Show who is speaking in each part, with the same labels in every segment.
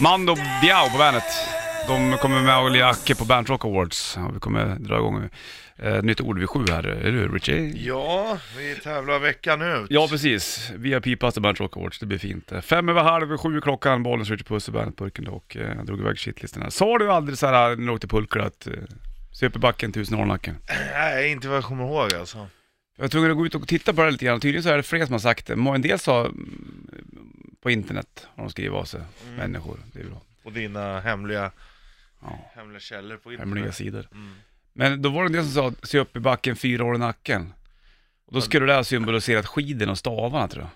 Speaker 1: Mando Diao på bandet. De kommer med och lira Acke på Bernt Rock Awards. Ja, vi kommer dra igång ett nytt ord vid sju här. Är du Richie?
Speaker 2: Ja, vi tävlar veckan ut.
Speaker 1: Ja, precis. Vi har pipat till Bernt Rock Awards. Det blir fint. Eh, Fem över halv sju klockan. Bollen Richie Puss och Bandet-burken och eh, jag drog iväg shitlistan här. Sa du aldrig så här när du åkte pulka att eh, Superbacken, tusen Alnacken?
Speaker 2: Nej, inte vad jag kommer ihåg alltså.
Speaker 1: Jag var tvungen att gå ut och titta på det här lite grann. Tydligen så är det fler som har sagt det. En del sa mm, på internet har de skrivit av sig, människor. Det är bra.
Speaker 2: Och dina hemliga,
Speaker 1: Ja.
Speaker 2: hemliga källor på internet.
Speaker 1: Hemliga sidor.
Speaker 2: Mm.
Speaker 1: Men då var det en del som sa, se upp i backen, fyra år i nacken. Och då skulle det här symbolisera skidorna och stavarna tror jag.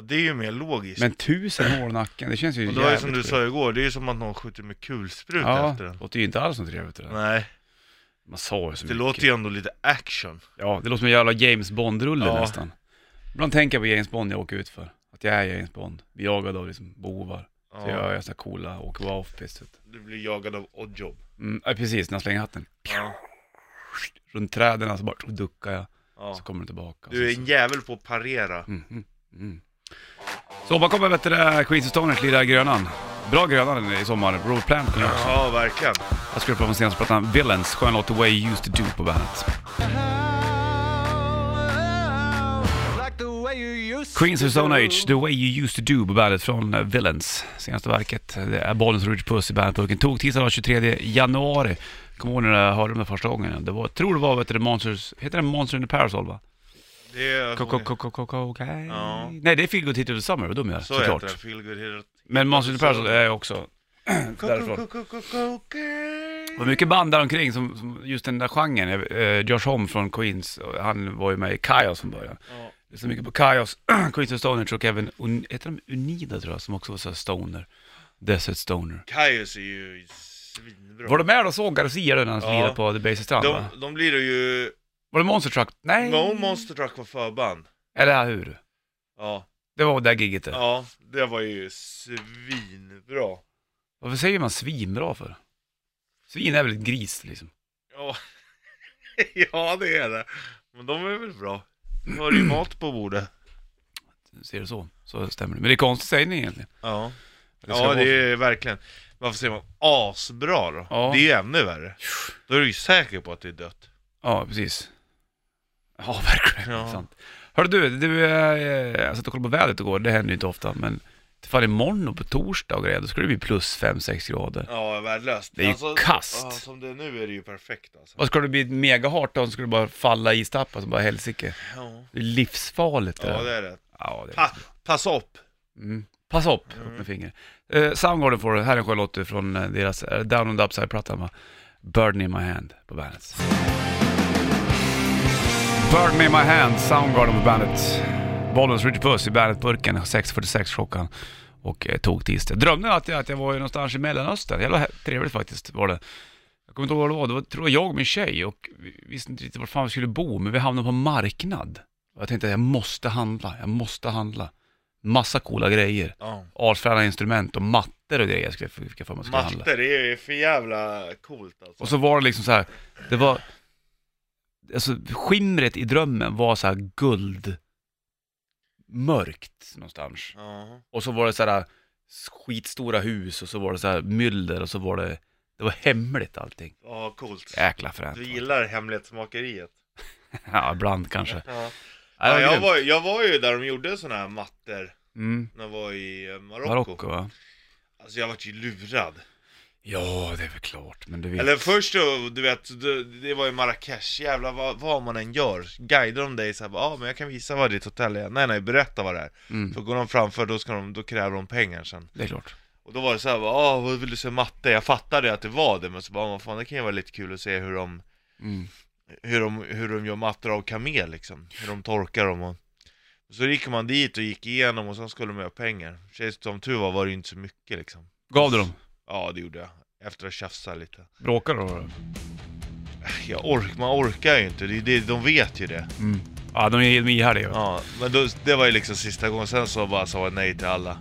Speaker 2: Ja, det är ju mer logiskt.
Speaker 1: Men tusen år i nacken, det känns ju
Speaker 2: och det var ju som du sa igår, det är ju som att någon skjuter med kulspruta
Speaker 1: ja,
Speaker 2: efter
Speaker 1: det
Speaker 2: den.
Speaker 1: låter ju inte alls som trevligt det där.
Speaker 2: Nej,
Speaker 1: Man sa ju så
Speaker 2: det
Speaker 1: mycket.
Speaker 2: låter ju ändå lite action.
Speaker 1: Ja, det låter som en jävla James Bond-rulle
Speaker 2: Ja.
Speaker 1: nästan. Ibland tänker jag på James Bond jag åker ut för. Att jag är James Bond. Blir jagad av liksom bovar. Så
Speaker 2: Ja.
Speaker 1: jag gör sådana coola, åker off-pist. vet
Speaker 2: Du blir jagad av Oddjob.
Speaker 1: du. Mm, ja, precis, när jag slänger hatten.
Speaker 2: Ja.
Speaker 1: Runt träden så bara duckar jag.
Speaker 2: Ja.
Speaker 1: Så kommer den tillbaka.
Speaker 2: Du är
Speaker 1: Så-
Speaker 2: en jävel på att parera.
Speaker 1: Mm, mm, mm. Så man kommer bättre där Queens of Stone lirar Grönan. Bra Grönan i sommar, Robert Plant.
Speaker 2: Ja, verkligen.
Speaker 1: Jag skulle prata om senaste plattan, Villains, skön låt The Way You Used To Do på bandet. Queens of Stone Age, The Way You Used To Do på bandet från eh, Villains. Senaste verket, det är Bollens Rouge Puss i bandetburken. Tog tisdagen den 23 januari. Kommer ihåg när jag hörde dem den första gången? Det var, tror det var, vet du, Monsters, heter den Monster in the Parasol va?
Speaker 2: Det är...
Speaker 1: Cocaine?
Speaker 2: Ja.
Speaker 1: Nej, det är Feel Good Hit of the Summer, vad dum jag är,
Speaker 2: Så heter
Speaker 1: såklart.
Speaker 2: den, Feel Good Hero.
Speaker 1: Men Monster in the Parasol är också därifrån. Det var mycket band där omkring som, som just den där genren. Eh, Josh Homme från Queens, och han var ju med i Kaios från början.
Speaker 2: Ja.
Speaker 1: Det är så mycket på Kaios, Queens of Stoner och även, Un, heter de Unida tror jag, som också var så här stoner. Desert Stoner.
Speaker 2: Kaius är ju svinbra.
Speaker 1: Var du med och såg Garcia när han
Speaker 2: Ja.
Speaker 1: lirade på The Basis Strand va?
Speaker 2: de, de lirar ju...
Speaker 1: Var det Monster Truck? Nej.
Speaker 2: No Monster Truck var förband.
Speaker 1: Eller hur?
Speaker 2: Ja,
Speaker 1: Det var det där giget där.
Speaker 2: ja, det var ju svinbra.
Speaker 1: Varför säger man svinbra för? Svin är väl ett gris liksom.
Speaker 2: Ja. ja, det är det. Men de är väl bra. Nu har du ju mat på bordet.
Speaker 1: Ser det så, så stämmer det. Men det är konstig sägning egentligen.
Speaker 2: Ja,
Speaker 1: ska
Speaker 2: ja
Speaker 1: vara
Speaker 2: det är verkligen. Varför säger man asbra då?
Speaker 1: Ja.
Speaker 2: Det är ju ännu värre. Då är du ju säker på att det är dött.
Speaker 1: Ja, precis. Ja, verkligen.
Speaker 2: Ja.
Speaker 1: Sant. Hörru du, du eh, jag satt och kollade på vädret igår, det händer ju inte ofta, men ifall imorgon och på torsdag och grejer, då skulle det bli plus 5-6 grader.
Speaker 2: Ja, värdelöst. Alltså,
Speaker 1: Det är ju kast.
Speaker 2: Ja, som det är nu är det ju perfekt alltså.
Speaker 1: Vad skulle det bli megahart då? Om det skulle bara falla i istappar som bara helsike.
Speaker 2: Ja,
Speaker 1: Det är livsfarligt det
Speaker 2: ja
Speaker 1: där.
Speaker 2: det är det.
Speaker 1: Ja, det är...
Speaker 2: Pa, pass upp.
Speaker 1: mm. Pass upp, upp med fingret. Eh, Soundgarden får du, här är en skön låt från eh, deras eh, Down on the Upside-plattan va? Burden in my hand på bandet. Burden in my hand, Soundgarden på bandet. Bollens Richard Puss i bandetburken, 6.46 klockan. Och eh, tog tisdag. Drömde att jag, att jag var ju någonstans i Mellanöstern. Jävla he- trevligt faktiskt var det. Jag kommer inte ihåg vad det var. Det var, tror jag, jag och min tjej och vi visste inte riktigt vart fan vi skulle bo, men vi hamnade på marknad. Och jag tänkte att jag måste handla, jag måste handla. Massa coola grejer.
Speaker 2: Ja.
Speaker 1: Artfräna instrument och mattor och grejer skulle jag fick jag för mig att jag skulle handla.
Speaker 2: Matte, det är ju för jävla coolt alltså.
Speaker 1: Och så var det liksom så här, det var, alltså skimret i drömmen var så här guld, mörkt någonstans.
Speaker 2: Ja.
Speaker 1: Och så var det så här skitstora hus och så var det så här myller och så var det, det var hemligt allting.
Speaker 2: Ja, coolt.
Speaker 1: Jäkla fränt.
Speaker 2: Du gillar hemlighetsmakeriet.
Speaker 1: Ja, ibland kanske.
Speaker 2: Ja.
Speaker 1: Ja,
Speaker 2: Ja,
Speaker 1: det
Speaker 2: jag,
Speaker 1: grymt.
Speaker 2: var, jag var ju där de gjorde såna här mattor
Speaker 1: Mm.
Speaker 2: när jag var i eh, Marocko.
Speaker 1: Marocko va?
Speaker 2: Alltså jag vart ju lurad.
Speaker 1: Ja, det är väl klart, men du vet.
Speaker 2: Eller först så, du vet, det, det var ju Marrakesh, jävlar vad, vad man än gör Guidar de dig såhär, ja ah, men jag kan visa vad ditt hotell är, nej nej berätta vad det är
Speaker 1: Mm,
Speaker 2: Så går de framför, då, ska de, då kräver de pengar sen
Speaker 1: det är klart.
Speaker 2: Och då var det såhär, ah vad vill du se matte? Jag fattade att det var det, men så bara, vad fan det kan ju vara lite kul att se hur de
Speaker 1: Mm.
Speaker 2: hur de, hur de gör mattor av kamel liksom, hur de torkar dem och så gick man dit och gick igenom och sen skulle de göra pengar. Så Som tur var var det ju inte så mycket liksom.
Speaker 1: Gav du dem?
Speaker 2: Ja det gjorde jag, efter att tjafsa lite.
Speaker 1: Bråkade du? då?
Speaker 2: Äh, Jag ork, man orkar ju inte, det, är det, de vet ju det.
Speaker 1: Mm. Ja, de är helt ihärdiga. Ja.
Speaker 2: Ja, men då, det var ju liksom sista gången, sen så bara sa jag nej till alla.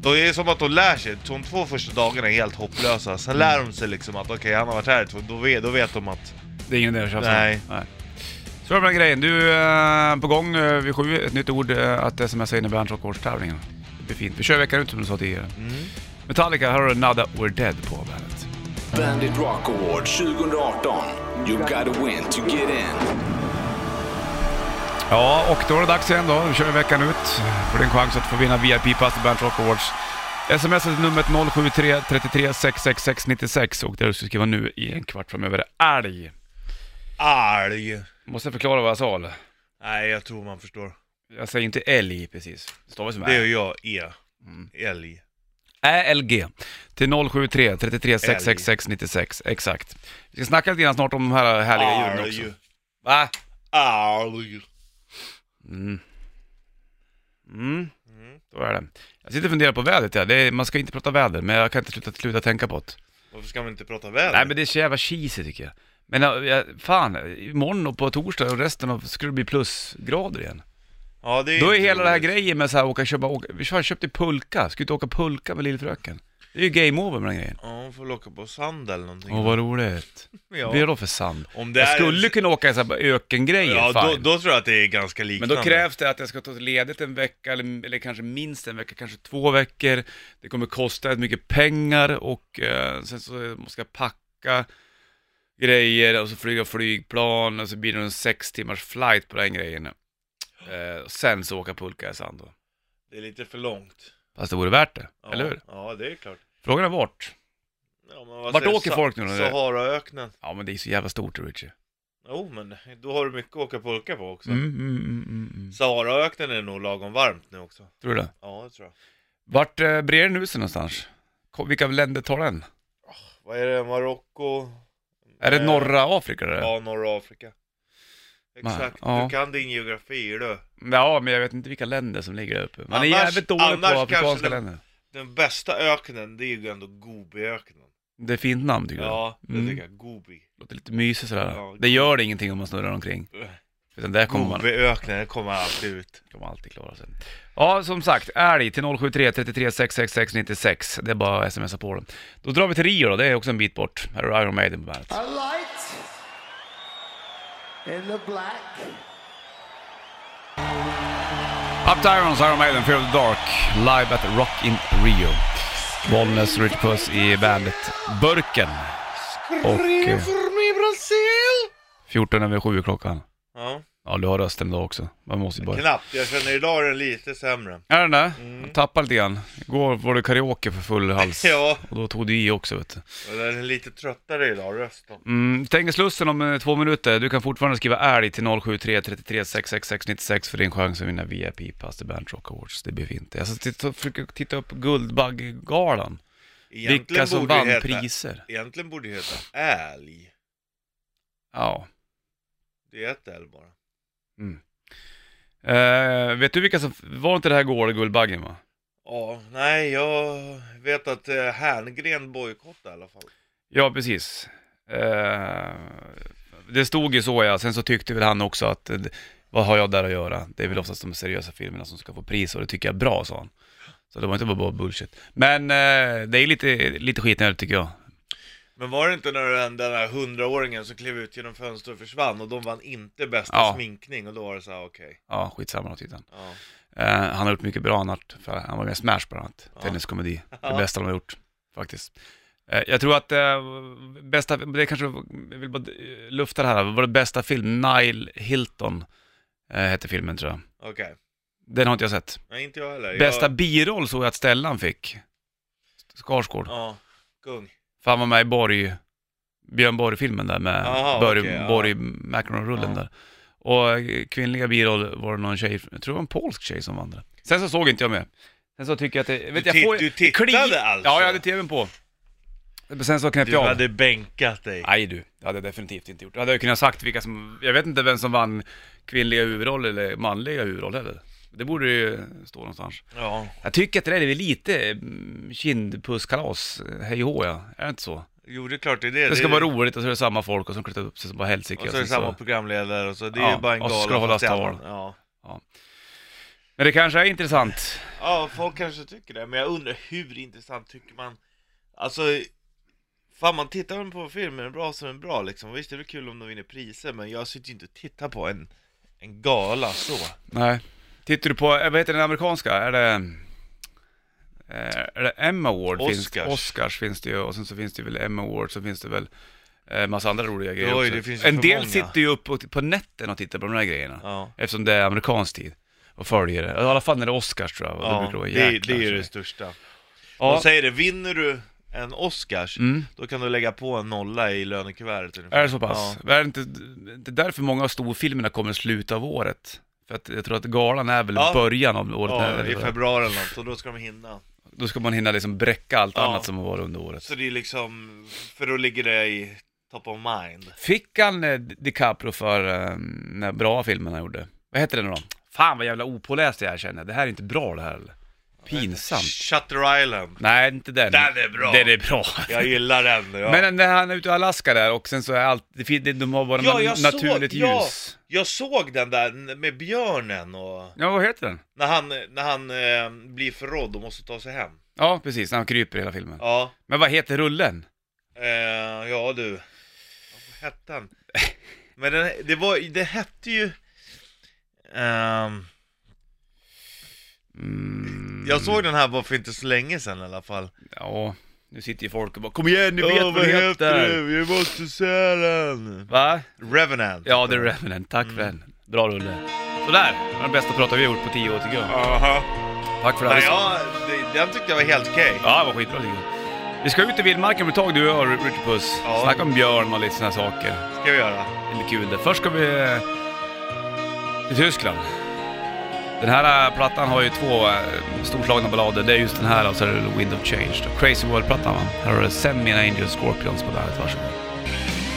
Speaker 2: Då är det som att de lär sig, de två första dagarna är helt hopplösa, sen lär de sig liksom att okej han har varit här i två, då vet, då vet de att...
Speaker 1: Det är ingen idé att tjafsa.
Speaker 2: Nej.
Speaker 1: Så är det med den grejen. Du, eh, på gång eh, vid sju, ett nytt ord eh, att smsa in i Bernt Rock tävlingen Det blir fint. Vi kör veckan ut som du sa tidigare.
Speaker 2: Mm.
Speaker 1: Metallica har du Another We're Dead på bandet.
Speaker 3: Bandit Rock Award 2018. You gotta win to get in.
Speaker 1: Ja, och då är det dags igen då. Vi kör ju veckan ut. För din chans att få vinna VIP-pass till Bandet Rock Awards. Sms är till numret 073 33 666 96 och det du ska skriva nu i en kvart framöver är älg.
Speaker 2: Älg.
Speaker 1: Måste jag förklara vad jag sa eller?
Speaker 2: Nej, jag tror man förstår.
Speaker 1: Jag säger inte älg precis. Det stavas som
Speaker 2: Det gör
Speaker 1: älg.
Speaker 2: jag, E. Älg.
Speaker 1: Ä-L-G. Till 073 33 666 96. Exakt. Vi ska snacka lite grann snart om de här härliga ljuden också.
Speaker 2: Älg.
Speaker 1: Va?
Speaker 2: Älg.
Speaker 1: Mm. Mm. Då är det. Jag sitter och funderar på vädret. Ja. Det är, man ska inte prata väder, men jag kan inte sluta, sluta tänka på det.
Speaker 2: Varför ska man inte prata väder?
Speaker 1: Nej, men det är så jävla cheesy tycker jag. Men ja, jag, fan, imorgon och på torsdag och resten av ska det bli plusgrader igen.
Speaker 2: ja, det är
Speaker 1: Då är
Speaker 2: inte
Speaker 1: hela den här
Speaker 2: roligt.
Speaker 1: grejen med så här, åka, köpa, åka, vi köpte pulka, ska inte åka pulka med lillfröken. Det är ju game over med den grejen.
Speaker 2: Ja, hon får locka på sand eller någonting.
Speaker 1: Åh vad roligt.
Speaker 2: Ja.
Speaker 1: Vad blir det då för sand?
Speaker 2: Om det
Speaker 1: jag
Speaker 2: är-
Speaker 1: skulle kunna åka i så här ökengrejer,
Speaker 2: Ja,
Speaker 1: fine.
Speaker 2: då, då tror jag att det är ganska
Speaker 1: Men
Speaker 2: liknande.
Speaker 1: då krävs det att jag ska ta ledigt en vecka eller, eller kanske minst en vecka, kanske två veckor. Det kommer kosta rätt mycket pengar och eh, sen så måste jag packa grejer och så flyga flygplan och så blir det en sex timmars flight på den grejen. Eh, och sen så åka pulka i sand då.
Speaker 2: Det är lite för långt.
Speaker 1: Fast det vore värt det,
Speaker 2: Ja.
Speaker 1: eller hur?
Speaker 2: Ja, det är klart.
Speaker 1: Frågan är vart?
Speaker 2: Ja, men vad
Speaker 1: Vart
Speaker 2: säger
Speaker 1: åker
Speaker 2: Sa-
Speaker 1: folk nu då?
Speaker 2: Saharaöknen.
Speaker 1: Ja men det är så jävla stort Richie.
Speaker 2: Jo, men då har du mycket att åka pulka på också.
Speaker 1: Mm, mm, mm, mm, mm.
Speaker 2: Saharaöknen är nog lagom varmt nu också.
Speaker 1: Tror du det?
Speaker 2: Ja, det tror jag.
Speaker 1: Vart eh, breder den ut sig någonstans? Ko- Vilka länder tar den?
Speaker 2: Vad är det? Marocko?
Speaker 1: Är det
Speaker 2: Eh,
Speaker 1: norra Afrika? Eller?
Speaker 2: Ja, norra Afrika. Exakt.
Speaker 1: Nej, ja.
Speaker 2: Du kan din geografi, du.
Speaker 1: Ja, men jag vet inte vilka länder som ligger där uppe. Man
Speaker 2: Annars-
Speaker 1: är jävligt dålig på
Speaker 2: annars
Speaker 1: afrikanska
Speaker 2: kanske det-
Speaker 1: länder.
Speaker 2: Den bästa öknen, det är ju ändå Gobiöknen.
Speaker 1: Det är fint namn tycker jag.
Speaker 2: Ja, det
Speaker 1: Mm.
Speaker 2: tycker jag. Gobi.
Speaker 1: Låter lite mysigt sådär.
Speaker 2: Ja.
Speaker 1: det gör det ingenting om man snurrar omkring. Utan där kommer man
Speaker 2: Gobiöknen, den kommer alltid ut.
Speaker 1: kommer alltid klara sig. Ja, som sagt, älg till 073 33 666 96. Det är bara att smsa på den. Då drar vi till Rio då, det är också en bit bort. Här har du Iron Maiden på bandet.
Speaker 4: A light in the black.
Speaker 1: Up to Irons, Iron Maiden, Fear of the Dark, live at Rock in Rio. Bollnäs, Rich Puss i bandet Burken. Och eh,
Speaker 2: Brasil!
Speaker 1: 14 över 7 klockan.
Speaker 2: Ja,
Speaker 1: Ja, du har rösten idag också. Man måste ju bara...
Speaker 2: knappt. Jag känner idag är den lite sämre.
Speaker 1: Är den där? Tappar lite grann. Igår var det karaoke för full hals.
Speaker 2: Ja,
Speaker 1: Och då tog du i också vet du.
Speaker 2: och den är lite tröttare idag, rösten.
Speaker 1: Mm, tänk dig Slussen om eh, två minuter. Du kan fortfarande skriva älg till 073 33 666 96 för din chans att vinna VIP-pass till Bernt Rock Awards. Det blir fint. Jag ska titta- försöker titta upp Guldbaggegalan. Vilka som
Speaker 2: borde det
Speaker 1: vann
Speaker 2: heta-
Speaker 1: priser.
Speaker 2: Egentligen borde det heta älg.
Speaker 1: Ja.
Speaker 2: Det är ett älg bara.
Speaker 1: Eh, vet du vilka som... Var inte det här går Guldbaggen va?
Speaker 2: Ja, nej, jag vet att eh, Herngren bojkottade i alla fall.
Speaker 1: Ja, precis. Eh, det stod ju så ja, sen så tyckte väl han också att eh, vad har jag där att göra? Det är väl oftast de seriösa filmerna som ska få pris och det tycker jag är bra, sa han. Så det var inte bara bullshit. Men eh, det är lite, lite skitnödigt tycker jag.
Speaker 2: Men var det inte när den, den där hundraåringen som klev ut genom fönstret och försvann och de vann inte bästa
Speaker 1: Ja.
Speaker 2: sminkning och då var det så här, okej.
Speaker 1: Ja, skitsamma då titeln.
Speaker 2: Ja.
Speaker 1: Eh, han har gjort mycket bra annars. För han var med i Smash bland annat. Tenniskomedi. Det bästa de har gjort, faktiskt. Eh, jag tror att eh, bästa, det kanske, jag vill bara eh, lufta det här. Vad var det bästa film? Nile Hilton eh, hette filmen tror jag.
Speaker 2: Okej.
Speaker 1: Den har inte jag sett.
Speaker 2: Nej, inte jag heller.
Speaker 1: Bästa
Speaker 2: Jag...
Speaker 1: biroll såg jag att Stellan fick. Skarsgård.
Speaker 2: Ja, kung.
Speaker 1: För han var med i Borg, Björn Borg-filmen där med
Speaker 2: Aha,
Speaker 1: Borg,
Speaker 2: okej, ja.
Speaker 1: Borg Macaron-rullen
Speaker 2: Ja.
Speaker 1: där. Och eh, kvinnliga biroll var det någon tjej, jag tror det var en polsk tjej som vann det. Sen så såg inte jag med. Sen så tycker jag att det, vet,
Speaker 2: Du
Speaker 1: jag
Speaker 2: tit-
Speaker 1: får,
Speaker 2: du tittade
Speaker 1: kli-
Speaker 2: alltså?
Speaker 1: Ja, jag hade tvn på. Men Sen så knäppte
Speaker 2: Du
Speaker 1: jag av.
Speaker 2: hade bänkat dig.
Speaker 1: Nej du, det hade jag definitivt inte gjort. Det hade jag kunnat sagt vilka som, jag vet inte vem som vann kvinnliga huvudroll eller manliga huvudroll heller. Det borde ju stå någonstans.
Speaker 2: Ja,
Speaker 1: Jag tycker att det där är väl lite mm, kindpusskalas, eh, hej och hå ja. Är det inte så?
Speaker 2: jo det är klart det är det.
Speaker 1: Det ska
Speaker 2: är-
Speaker 1: vara roligt och så är det samma folk och som klätt upp sig som bara helsike.
Speaker 2: Och så är
Speaker 1: sen
Speaker 2: det samma programledare och så. Det är
Speaker 1: Ja,
Speaker 2: ju bara en
Speaker 1: och så
Speaker 2: gala.
Speaker 1: ska det hållas
Speaker 2: fast i alla-
Speaker 1: tal.
Speaker 2: Ja.
Speaker 1: Men det kanske är intressant.
Speaker 2: ja, folk kanske tycker det. Men jag undrar hur intressant tycker man... Alltså... Fan man tittar väl på filmen bra som en bra liksom. Visst det är väl kul om de vinner priser men jag sitter ju inte och tittar på en, en gala så.
Speaker 1: Nej. Tittar du på, eh, vad heter den amerikanska? Är det... Eh, eller Emma Award
Speaker 2: Oscars.
Speaker 1: finns Oscars finns det ju och sen så finns det väl Emma Award, så finns det väl eh, massa andra roliga grejer
Speaker 2: Oj,
Speaker 1: också.
Speaker 2: det finns ju
Speaker 1: En
Speaker 2: för
Speaker 1: del
Speaker 2: många.
Speaker 1: sitter ju upp och, på nätterna och tittar på de här grejerna.
Speaker 2: Ja.
Speaker 1: Eftersom det är amerikansk tid och följer det. I alla fall när det är Oscars tror jag. och
Speaker 2: Ja,
Speaker 1: brukar vara
Speaker 2: det, är- det
Speaker 1: jäkla-
Speaker 2: är ju det största.
Speaker 1: Ja. Mm.
Speaker 2: De säger det, vinner du en Oscars, då kan du lägga på en nolla i lönekuvertet ungefär.
Speaker 1: Är det så pass? Är det, inte, det är därför många av storfilmerna kommer i slutet av året. För att jag tror att galan är väl
Speaker 2: Ja.
Speaker 1: början av året.
Speaker 2: Ja,
Speaker 1: när-
Speaker 2: ja i februari eller något, och då ska de hinna.
Speaker 1: Då ska man hinna liksom bräcka allt
Speaker 2: Ja.
Speaker 1: annat som har varit under året.
Speaker 2: Så det är liksom, för då ligger det i top of mind.
Speaker 1: Fick han eh, DiCaprio för eh, den här bra filmen han gjorde? Vad heter den då? Fan vad jävla opåläst jag är känner jag. Det här är inte bra det här. eller? Pinsamt.
Speaker 2: Shutter Island.
Speaker 1: Nej, inte den.
Speaker 2: Den är bra.
Speaker 1: Den är bra.
Speaker 2: Jag gillar den. Ja.
Speaker 1: Men när han är ute i Alaska där och sen så är allt, det fin- det- de har bara
Speaker 2: Ja,
Speaker 1: na-
Speaker 2: jag
Speaker 1: naturligt
Speaker 2: såg,
Speaker 1: ljus.
Speaker 2: Ja, jag såg den där med björnen och
Speaker 1: Ja. vad heter den?
Speaker 2: när han, när han eh, blir förrådd och måste ta sig hem.
Speaker 1: Ja, precis, när han kryper i hela filmen.
Speaker 2: Ja,
Speaker 1: Men vad heter rullen?
Speaker 2: eh, ja du. Vad hette han? Men den, det var, det hette ju... ehm,
Speaker 1: Mm,
Speaker 2: jag såg den här bara för inte så länge sedan i alla fall.
Speaker 1: Ja, nu sitter ju folk och bara Kom igen, nu vet vad det heter!
Speaker 2: Vi måste se den!
Speaker 1: Va?
Speaker 2: Revenant.
Speaker 1: Ja, det är Revenant. Tack för den. Bra rulle. Sådär, det var den bästa prata vi har gjort på tio år tycker jag.
Speaker 2: Aha.
Speaker 1: Tack för det.
Speaker 2: Nej,
Speaker 1: här. liksom.
Speaker 2: ja, det, den tyckte jag var helt okej.
Speaker 1: Ja, det var skitbra tycker jag. Vi ska ut i vildmarken om ett tag du och jag, Richard Puss.
Speaker 2: Ja.
Speaker 1: Snacka om björn och lite sådana saker.
Speaker 2: Ska vi göra.
Speaker 1: Det är lite kul det. Först ska vi eh, till Tyskland. Den här eh, plattan har ju två eh, storslagna ballader. Det är just den här och så är det Wind of Change. Då. Crazy World-plattan va? Här har du Semi and Angels Scorpions på bandet. Varsågod.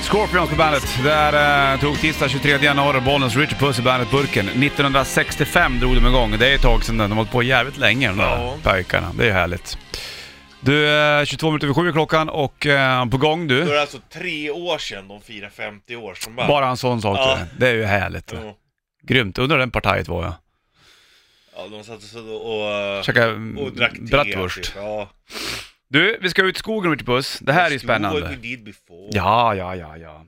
Speaker 1: Scorpions på bandet. Det är eh, tog tisdag 23 januari, Bollnäs Richard Puss i bandet Burken. 1965 drog de igång. Det är ett tag sedan de har hållit på jävligt länge de där
Speaker 2: Ja.
Speaker 1: pojkarna. Det är härligt. Du, eh, 22 minuter över sju är klockan och eh, på gång
Speaker 2: Då är
Speaker 1: du.
Speaker 2: det alltså tre år sedan de firar 50 år som band.
Speaker 1: Bara en sån sak
Speaker 2: Ja.
Speaker 1: du. Det är ju härligt.
Speaker 2: Ja.
Speaker 1: Grymt. Undrar den partiet var jag.
Speaker 2: Ja, de satt så och,
Speaker 1: Käkade
Speaker 2: och drack te.
Speaker 1: mm, bratwurst.
Speaker 2: Typ. Ja.
Speaker 1: Du, vi ska ut i skogen Richard Puss. Det här är ju
Speaker 2: What we
Speaker 1: spännande.
Speaker 2: did before.
Speaker 1: Ja, ja, ja, ja.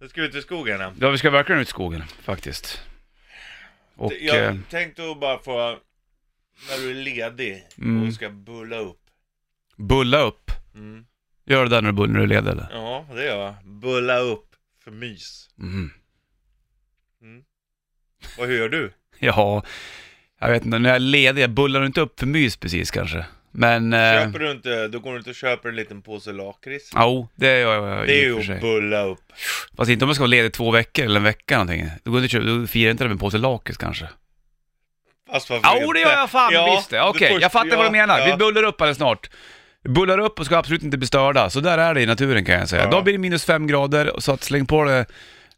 Speaker 2: Nu ska vi ut i skogen. ja.
Speaker 1: Ja, vi ska verkligen ut i skogen faktiskt. Och...
Speaker 2: jag
Speaker 1: eh,
Speaker 2: tänkte att bara få, när du är ledig
Speaker 1: Mm.
Speaker 2: och ska bulla upp.
Speaker 1: Bulla upp.
Speaker 2: Mm.
Speaker 1: Gör det där när du, bull- när du leder eller?
Speaker 2: Ja, det gör jag. Bulla upp för mys.
Speaker 1: Mm.
Speaker 2: Vad gör
Speaker 1: Eh.
Speaker 2: du?
Speaker 1: Ja, jag vet inte, när jag är ledig, jag bullar inte upp för mys precis kanske. Men... eh,
Speaker 2: Köper du inte, då går du inte och köper en liten påse lakrits.
Speaker 1: Jo, det gör jag
Speaker 2: Det är
Speaker 1: i och för
Speaker 2: ju
Speaker 1: sig.
Speaker 2: att bulla upp.
Speaker 1: Fast inte om jag ska vara ledig två veckor eller en vecka eller någonting. Då, går det, inte att köpa- då firar jag inte det med en påse lakrits kanske.
Speaker 2: Fast varför
Speaker 1: Jo, det gör jag fan
Speaker 2: Ja,
Speaker 1: visst det. Okej,
Speaker 2: först-
Speaker 1: jag fattar vad du
Speaker 2: ja,
Speaker 1: menar.
Speaker 2: ja.
Speaker 1: Vi bullar upp alldeles snart. Vi Bullar upp och ska absolut inte bli störda. Så där är det i naturen kan jag säga.
Speaker 2: Ja.
Speaker 1: Då blir det minus fem grader, så att släng på dig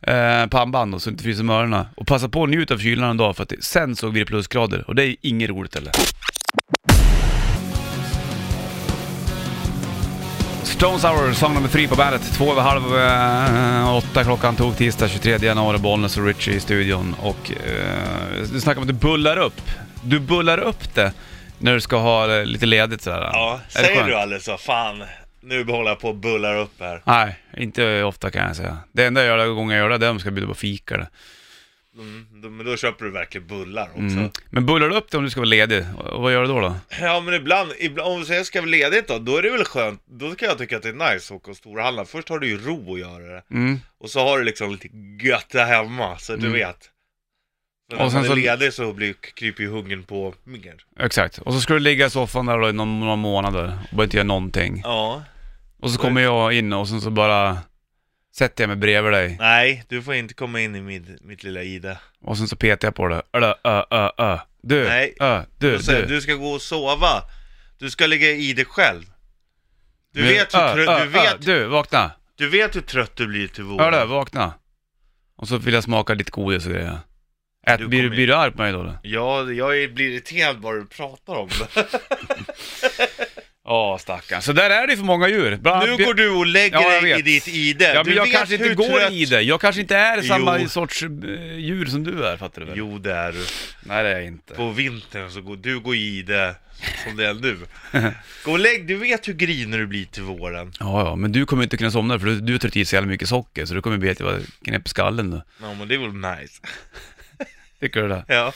Speaker 1: eh, pannband då, så du inte fryser om öronen. Och passa på att njuta av kylan en dag, för att det, sen såg vi det plusgrader. Och det är ju inget roligt eller. Stones Hour, sång nummer tre på bandet. Två över halv eh, åtta klockan tog tisdag 23 januari, Bollnäs och Richie i studion. Och eh, du snackar om att du bullar upp. Du bullar upp det när du ska ha eh, lite ledigt sådär.
Speaker 2: Ja,
Speaker 1: Är det
Speaker 2: säger
Speaker 1: skönt?
Speaker 2: du aldrig så, fan, nu håller jag på och bullar upp här.
Speaker 1: Nej, inte ofta kan jag säga. Det enda jag gör, gången jag gör det, det är om jag ska bjuda på fika eller.
Speaker 2: Mm, då, men då köper du verkligen bullar också.
Speaker 1: Mm. Men bullar du upp det om du ska vara ledig, och vad gör du då? då?
Speaker 2: Ja men ibland, ibland om vi säger jag ska vara ledigt då, då är det väl skönt, då kan jag tycka att det är nice att åka och storhandla. Först har du ju ro att göra det,
Speaker 1: Mm.
Speaker 2: och så har du liksom lite gött där hemma, så du vet. Men
Speaker 1: Och
Speaker 2: när
Speaker 1: sen
Speaker 2: man är
Speaker 1: så-
Speaker 2: ledig så blir, kryper ju hungern på mer.
Speaker 1: Exakt. Och så ska du ligga i soffan där då i någon, några månader och bara inte göra någonting.
Speaker 2: Ja.
Speaker 1: Och så kommer jag in och sen så bara sätter jag mig bredvid dig.
Speaker 2: Nej, du får inte komma in i mitt, mitt lilla Ida.
Speaker 1: Och sen så petar jag på det. Ö, ö, ö, ö. Du,
Speaker 2: Nej.
Speaker 1: ö, du,
Speaker 2: Du, säger,
Speaker 1: du.
Speaker 2: du ska gå och sova. Du ska ligga i dig själv. Du
Speaker 1: Men-
Speaker 2: vet, hur
Speaker 1: ö,
Speaker 2: trö-
Speaker 1: ö,
Speaker 2: du, vet,
Speaker 1: ö, du, vakna.
Speaker 2: du vet hur trött du blir till
Speaker 1: Hörru,
Speaker 2: våren.
Speaker 1: vakna. Och så vill jag smaka ditt godis och grejer. Ät,
Speaker 2: Du
Speaker 1: blir, du-
Speaker 2: kommer-
Speaker 1: blir du arg på mig då? eller?
Speaker 2: Ja, jag är- blir irriterad bara du pratar om det.
Speaker 1: Ja, stackarn. Så där är det för många djur. Bland annat
Speaker 2: Nu går du och lägger
Speaker 1: Ja, jag
Speaker 2: dig i
Speaker 1: vet.
Speaker 2: ditt ide.
Speaker 1: Ja,
Speaker 2: du
Speaker 1: men jag
Speaker 2: vet
Speaker 1: kanske
Speaker 2: hur
Speaker 1: inte går
Speaker 2: trött-
Speaker 1: i det. Jag kanske inte är samma
Speaker 2: Jo.
Speaker 1: sorts eh, djur som du är, fattar du väl?
Speaker 2: Jo, det är du.
Speaker 1: Nej, det är jag inte.
Speaker 2: På vintern så går du går i det som det är nu. Gå och lägg, du vet hur grinig du blir till våren.
Speaker 1: Ja, ja, men du kommer inte kunna somna för du, du har tryckt i så jävla mycket socker så du kommer bli helt jävla knäpp i skallen. då.
Speaker 2: Ja, men det är väl nice.
Speaker 1: Tycker du det?
Speaker 2: Ja.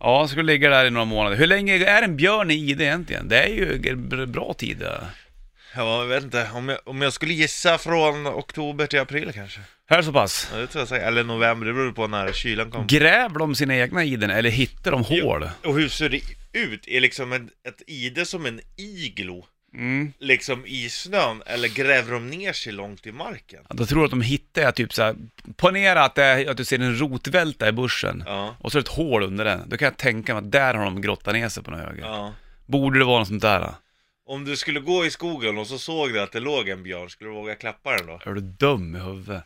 Speaker 1: Ja, så skulle ligga där i några månader. Hur länge är en björn i ide egentligen? Det är ju en br- bra tid. ja.
Speaker 2: Ja, jag vet inte. Om jag, om jag skulle gissa från oktober till april kanske.
Speaker 1: Här är så pass.
Speaker 2: Ja, det tror jag säkert. Eller november, det beror på när kylan kommer.
Speaker 1: Gräver de sina egna iden eller hittar de hål?
Speaker 2: Och hur ser det ut? Är liksom en, ett ide som en iglo?
Speaker 1: Mm.
Speaker 2: Liksom i snön? Eller gräver de ner sig långt i marken?
Speaker 1: Ja, Då tror jag att de hittar, jag typ så här, ponera att, det, är- att du ser en rotvälta i bussen
Speaker 2: Ja.
Speaker 1: och så är det ett hål under den. Då kan jag tänka mig att där har de grottat ner sig på något höger.
Speaker 2: ja.
Speaker 1: Borde det vara något sånt där? då?
Speaker 2: Om du skulle gå i skogen och så såg du att det låg en björn, skulle du våga klappa den då?
Speaker 1: Är du dum i huvudet?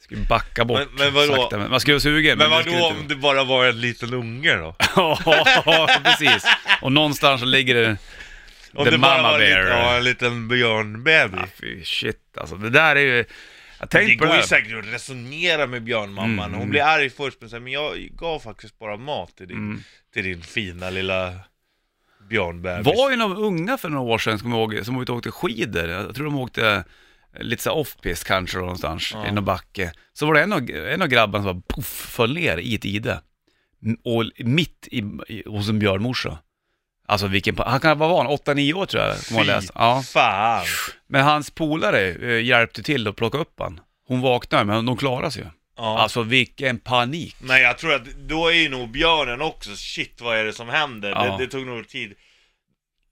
Speaker 1: Ska ju backa bort
Speaker 2: Men- men vadå?
Speaker 1: sakta. Men, man skulle vara sugen.
Speaker 2: Men
Speaker 1: du
Speaker 2: vadå
Speaker 1: skulle
Speaker 2: om det bara var en liten unge då?
Speaker 1: Ja, precis. Och någonstans så ligger det...
Speaker 2: Om
Speaker 1: The
Speaker 2: det bara
Speaker 1: mama
Speaker 2: var en liten-
Speaker 1: bear.
Speaker 2: Ja, en liten björnbaby.
Speaker 1: Ah, fy shit alltså. Det där är ju... Jag tänkte
Speaker 2: Det
Speaker 1: på det Mm.
Speaker 2: går ju
Speaker 1: här.
Speaker 2: säkert att resonera med björnmamman, hon blir arg först men säger men jag gav faktiskt bara mat till din,
Speaker 1: Mm.
Speaker 2: till din fina lilla björnbebis.
Speaker 1: var ju några unga för några år sedan, kommer jag ihåg, som var ute och åkte skidor. Jag tror de åkte eh, lite så här off-pist kanske då, någonstans, i någon backe. Så var det en av, en av grabbarna som bara poff, föll ner i ett ide. M- Och mitt i, i, hos en björnmorsa. Alltså vilken, pa- han kan vara van, 8-9 år tror jag, kommer jag läsa. Ja.
Speaker 2: fan!
Speaker 1: Men hans polare eh, hjälpte till att plocka upp han. Hon vaknade, men de klarade sig ju.
Speaker 2: Ja.
Speaker 1: Alltså vilken panik.
Speaker 2: Men jag tror att då är ju nog björnen också, shit vad är det som händer?
Speaker 1: Ja.
Speaker 2: Det, det tog nog tid.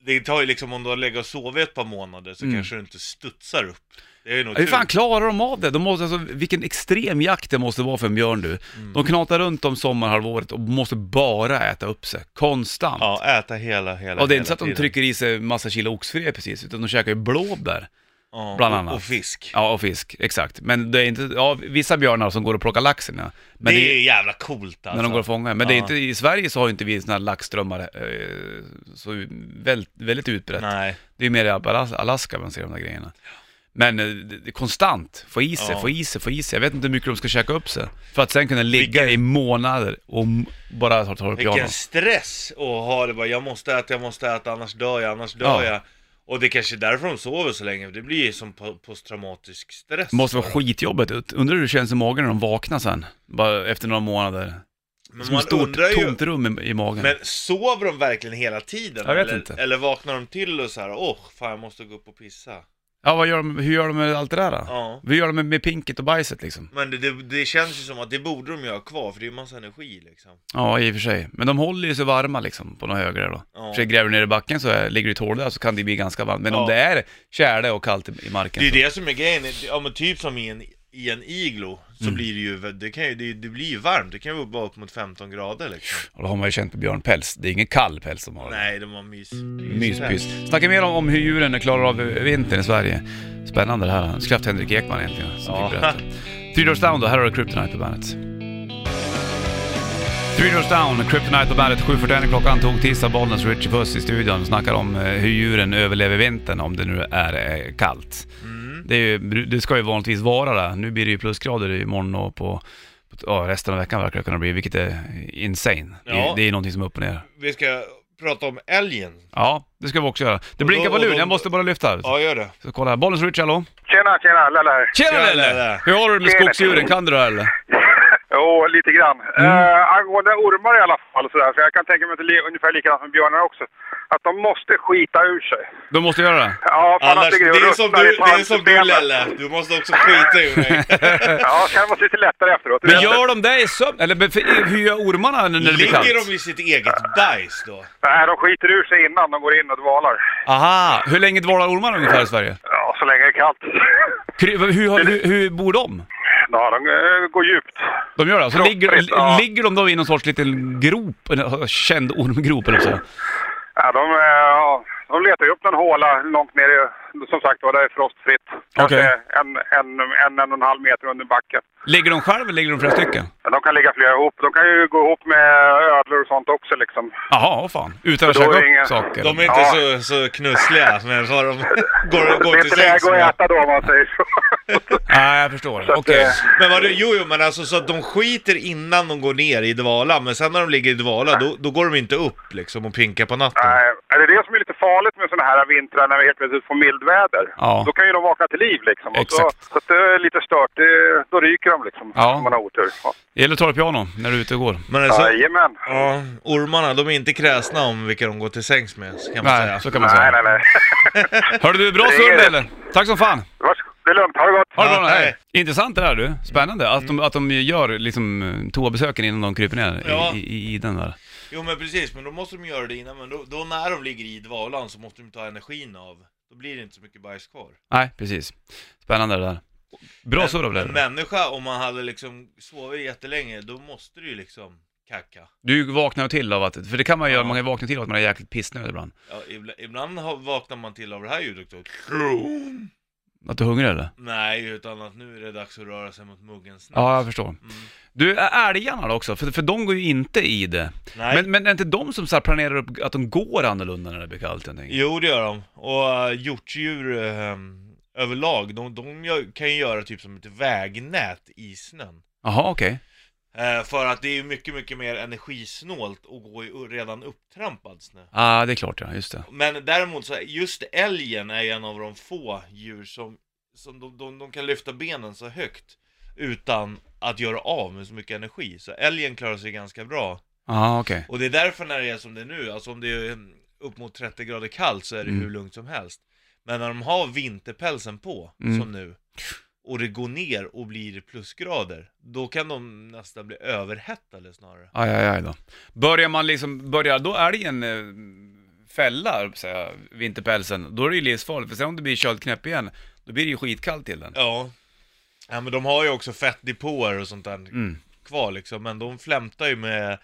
Speaker 2: Det tar ju liksom om du har legat och sovit ett par månader
Speaker 1: Mm.
Speaker 2: så kanske du inte studsar upp. Det är ju nog
Speaker 1: Hur
Speaker 2: tur.
Speaker 1: fan klarar de av det? De måste, alltså, vilken extrem jakt det måste vara för en björn du.
Speaker 2: Mm.
Speaker 1: De knatar runt om sommarhalvåret och måste bara äta upp sig, konstant.
Speaker 2: Ja, äta hela, hela,
Speaker 1: och det är
Speaker 2: hela
Speaker 1: inte så att de
Speaker 2: tiden.
Speaker 1: trycker i sig massa kilo oxfilé precis, utan de käkar ju blåbär.
Speaker 2: ja,
Speaker 1: bland
Speaker 2: och-
Speaker 1: annat.
Speaker 2: Och fisk.
Speaker 1: Ja, och fisk, exakt. Men det är inte, ja, vissa björnar som går och plockar laxen ja. Men
Speaker 2: det,
Speaker 1: det är-
Speaker 2: är jävla coolt alltså.
Speaker 1: När de går och fångar. Men det är
Speaker 2: Ja.
Speaker 1: inte, i Sverige så har ju inte vi sådana här laxströmmar eh, så väldigt, väldigt utbrett.
Speaker 2: Nej.
Speaker 1: Det är ju mer i Alas- Alaska man ser de där grejerna. Men eh, det- det är konstant, få i sig,
Speaker 2: Ja.
Speaker 1: få i sig, få i sig. Jag vet inte hur mycket de ska käka upp sig. För att sen kunna ligga i månader och m- bara ta ta upp piano.
Speaker 2: Vilken stress att ha det bara, jag måste äta, jag måste äta, annars dör jag, annars dör
Speaker 1: Ja.
Speaker 2: jag. Och det är kanske är därför de sover så länge, för det blir ju som po- posttraumatisk stress.
Speaker 1: Det måste vara skitjobbigt ut. Undrar hur det känns i magen när de vaknar sen? Bara efter några månader.
Speaker 2: men
Speaker 1: Som ett stort tomt rum i, i magen.
Speaker 2: men sover de verkligen hela tiden?
Speaker 1: Jag vet
Speaker 2: eller,
Speaker 1: inte.
Speaker 2: eller vaknar de till och så här, åh, fan jag måste gå upp och pissa.
Speaker 1: Ja, vad gör de, hur gör de med allt det där då?
Speaker 2: Ja.
Speaker 1: Hur gör de med, med pinket och bajset liksom?
Speaker 2: Men det, det, det känns ju som att det borde de ju ha kvar, för det är ju massa energi liksom.
Speaker 1: Ja, i och för sig. Men de håller ju sig varma liksom på något högre då.
Speaker 2: Ja.
Speaker 1: För sig gräver du ner i backen så är, ligger det ett hål där så kan det bli ganska varmt. Men om
Speaker 2: Ja.
Speaker 1: det är tjäle och kallt i i marken
Speaker 2: Det är
Speaker 1: så...
Speaker 2: ju det som är grejen, ja men typ som i en, i en iglo, så
Speaker 1: Mm.
Speaker 2: blir det ju, det, kan ju det, det blir ju varmt, det kan ju vara upp mot 15 grader liksom.
Speaker 1: Och då har man ju känt på björnpäls. Det är ingen kall päls de har.
Speaker 2: Nej, de har mys.
Speaker 1: Myspys. Snacka mer om, om hur djuren klarar av vintern i Sverige. Spännande det här. Skraft Henrik Ekman egentligen som
Speaker 2: Ja.
Speaker 1: fick berätta. Three Doors Down då, här har du Kryptonite på bandet. Three Doors Down, Kryptonite på bandet. 7.41 klockan tog tisdag. Bollnäs Richie Puss i studion. Snackar om eh, hur djuren överlever vintern om det nu är eh, kallt.
Speaker 2: Mm.
Speaker 1: Det, är ju, det ska ju vanligtvis vara det. Nu blir det ju plusgrader imorgon och på, på ja, resten av veckan verkar det kunna bli, vilket är insane. Det,
Speaker 2: Ja.
Speaker 1: det är någonting som är upp och ner.
Speaker 2: Vi ska prata om älgen.
Speaker 1: Ja, det ska vi också göra. Det blinkar
Speaker 2: då-
Speaker 1: på
Speaker 2: och
Speaker 1: luren,
Speaker 2: de-
Speaker 1: jag måste bara lyfta här.
Speaker 2: Ja, gör det.
Speaker 1: Så kolla här, Bollens Rich, hallå?
Speaker 4: Tjena, tjena, Lelle här.
Speaker 1: Tjena
Speaker 2: Tjena,
Speaker 1: Lelle!
Speaker 2: Lelle!
Speaker 1: Hur har du det med
Speaker 4: Tjena.
Speaker 1: skogsdjuren, kan du det här, eller?
Speaker 4: Jo, lite grann.
Speaker 2: Mm.
Speaker 4: Eh, angående ormar i alla fall, sådär, för jag kan tänka mig att det är ungefär likadant med björnar också. Att de måste skita ur sig.
Speaker 1: De måste göra det.
Speaker 4: Ja, fan
Speaker 2: Annars,
Speaker 4: att
Speaker 2: det
Speaker 4: går och
Speaker 2: är som
Speaker 4: ruttnar
Speaker 2: du,
Speaker 4: i
Speaker 2: det är som du
Speaker 4: tarmsystemet.
Speaker 2: Lelle, du måste också skita ur mig.
Speaker 4: Ja, det kan vara lite lättare efteråt.
Speaker 1: Men gör de det i sömn? Eller bef- hur gör ormarna när det blir
Speaker 2: Ligger
Speaker 1: kallt?
Speaker 2: de i sitt eget bajs då?
Speaker 4: Nej, de skiter ur sig innan de går in och dvalar.
Speaker 1: Aha, hur länge dvalar ormarna ungefär i Sverige?
Speaker 4: Ja, så länge det är kallt.
Speaker 1: Kry- Hur, har- hur, hur bor de?
Speaker 4: Ja, de eh, går djupt.
Speaker 1: De gör det? Så ligger,
Speaker 4: Kroppsligt, ja.
Speaker 1: ligger de då i någon sorts liten grop? En alltså, känd ormgrop eller så?
Speaker 4: Ja, de, eh, ja, de letar ju upp någon håla långt ner i, som sagt var, där det är frostfritt. Kanske
Speaker 1: Okej.
Speaker 4: en, en, en, en och en halv meter under backen.
Speaker 1: Ligger de själv eller ligger de flera stycken?
Speaker 4: Men De kan ligga flera ihop. De kan ju gå ihop med ödlor och sånt också liksom.
Speaker 1: Jaha, åh fan. Utan att
Speaker 4: Då är
Speaker 1: käka upp
Speaker 4: det inga-
Speaker 1: saker?
Speaker 2: De är inte
Speaker 4: Ja.
Speaker 2: så, så knussliga, men har de går,
Speaker 4: det
Speaker 2: går
Speaker 4: är
Speaker 2: till
Speaker 4: inte
Speaker 2: sängs
Speaker 4: läge att
Speaker 2: med.
Speaker 4: äta då om man säger så.
Speaker 1: Nej, jag förstår.
Speaker 4: att,
Speaker 1: Okej.
Speaker 4: eh,
Speaker 2: Men vadå, jo, jo men alltså så att de skiter innan de går ner i dvala, men sen när de ligger i dvala då, då går de inte upp liksom och pinkar på natten.
Speaker 4: Nej, det är det som är lite farligt med sådana här vintrar när vi helt plötsligt får mildväder.
Speaker 1: Ja.
Speaker 4: Då kan ju de vakna till liv liksom. Och så,
Speaker 1: Exakt.
Speaker 4: så att det är lite stört. Det, då ryker de liksom.
Speaker 1: Ja.
Speaker 4: Om man har otur. Ja.
Speaker 1: Det gäller att ta det piano när du är ute och går.
Speaker 2: Men alltså,
Speaker 4: Jajamän.
Speaker 2: ja, ormarna, de är inte kräsna om vilka de går till sängs med, så kan man
Speaker 1: Nej,
Speaker 2: säga.
Speaker 1: så kan man
Speaker 4: Nej,
Speaker 1: säga.
Speaker 4: nej, nej.
Speaker 1: Hörde du, bra
Speaker 4: Det är
Speaker 1: surr
Speaker 4: det.
Speaker 1: eller? Tack som fan!
Speaker 4: Varsågod. Det är lugnt. Ha det gott.
Speaker 1: Ha det bra,
Speaker 2: Ja,
Speaker 1: hej.
Speaker 2: hej. Mm.
Speaker 1: Intressant det där du, spännande att de, att de gör liksom toabesöken innan de kryper ner i-
Speaker 2: Ja.
Speaker 1: i, i, i den där.
Speaker 2: Jo men precis, men då måste de göra det innan, men då, då när de ligger i dvalan så måste de ta energin av. Då blir det inte så mycket bajs kvar.
Speaker 1: Nej, precis. Spännande det där. Bra surr av dig.
Speaker 2: En människa, om man hade liksom sovit jättelänge, då måste du ju liksom kacka.
Speaker 1: Du vaknar ju till av att, för det kan man göra, man kan vakna till av att man är jäkligt pissnödig ibland.
Speaker 2: Ja, ibla- ibland har- vaknar man till av det här ljudet också. Krum.
Speaker 1: Att du är hungrig eller?
Speaker 2: Nej, utan att nu är det dags att röra sig mot muggen snabbt.
Speaker 1: Ja, jag förstår.
Speaker 2: Mm.
Speaker 1: Du, ä- älgarna då också, för, för de går ju inte i det.
Speaker 2: Nej.
Speaker 1: Men, men är inte de som så här planerar upp att de går annorlunda när det blir kallt? jag tänker?
Speaker 2: Jo, det gör de. Och uh, hjortdjur ehm, överlag, de, de gör, kan ju göra typ som ett vägnät i snön.
Speaker 1: Jaha, okej.
Speaker 2: Eh, för att det är ju mycket, mycket mer energisnålt att gå i u- redan upptrampad snö.
Speaker 1: Ja, ah, det är klart ja, just det.
Speaker 2: Men däremot så, är- just älgen är ju en av de få djur som, som de, de, de kan lyfta benen så högt utan att göra av med så mycket energi. Så älgen klarar sig ganska bra.
Speaker 1: Ja, ah, okej.
Speaker 2: Och det är därför när det är som det är nu, alltså om det är mm, upp mot 30 grader kallt så är det
Speaker 1: Mm.
Speaker 2: hur lugnt som helst. Men när de har vinterpälsen på,
Speaker 1: Mm.
Speaker 2: som nu, och det går ner och blir plusgrader, då kan de nästan bli överhettade snarare.
Speaker 1: Aj, aj, aj då. Börjar man liksom, börjar då älgen eh, fälla, höll jag på att säga, vinterpälsen, då är det ju livsfarligt. För sen om det blir köldknäpp igen, då blir det ju skitkallt till den.
Speaker 2: Ja. ja, men de har ju också fettdepåer och sånt där
Speaker 1: Mm.
Speaker 2: kvar liksom, men de flämtar ju med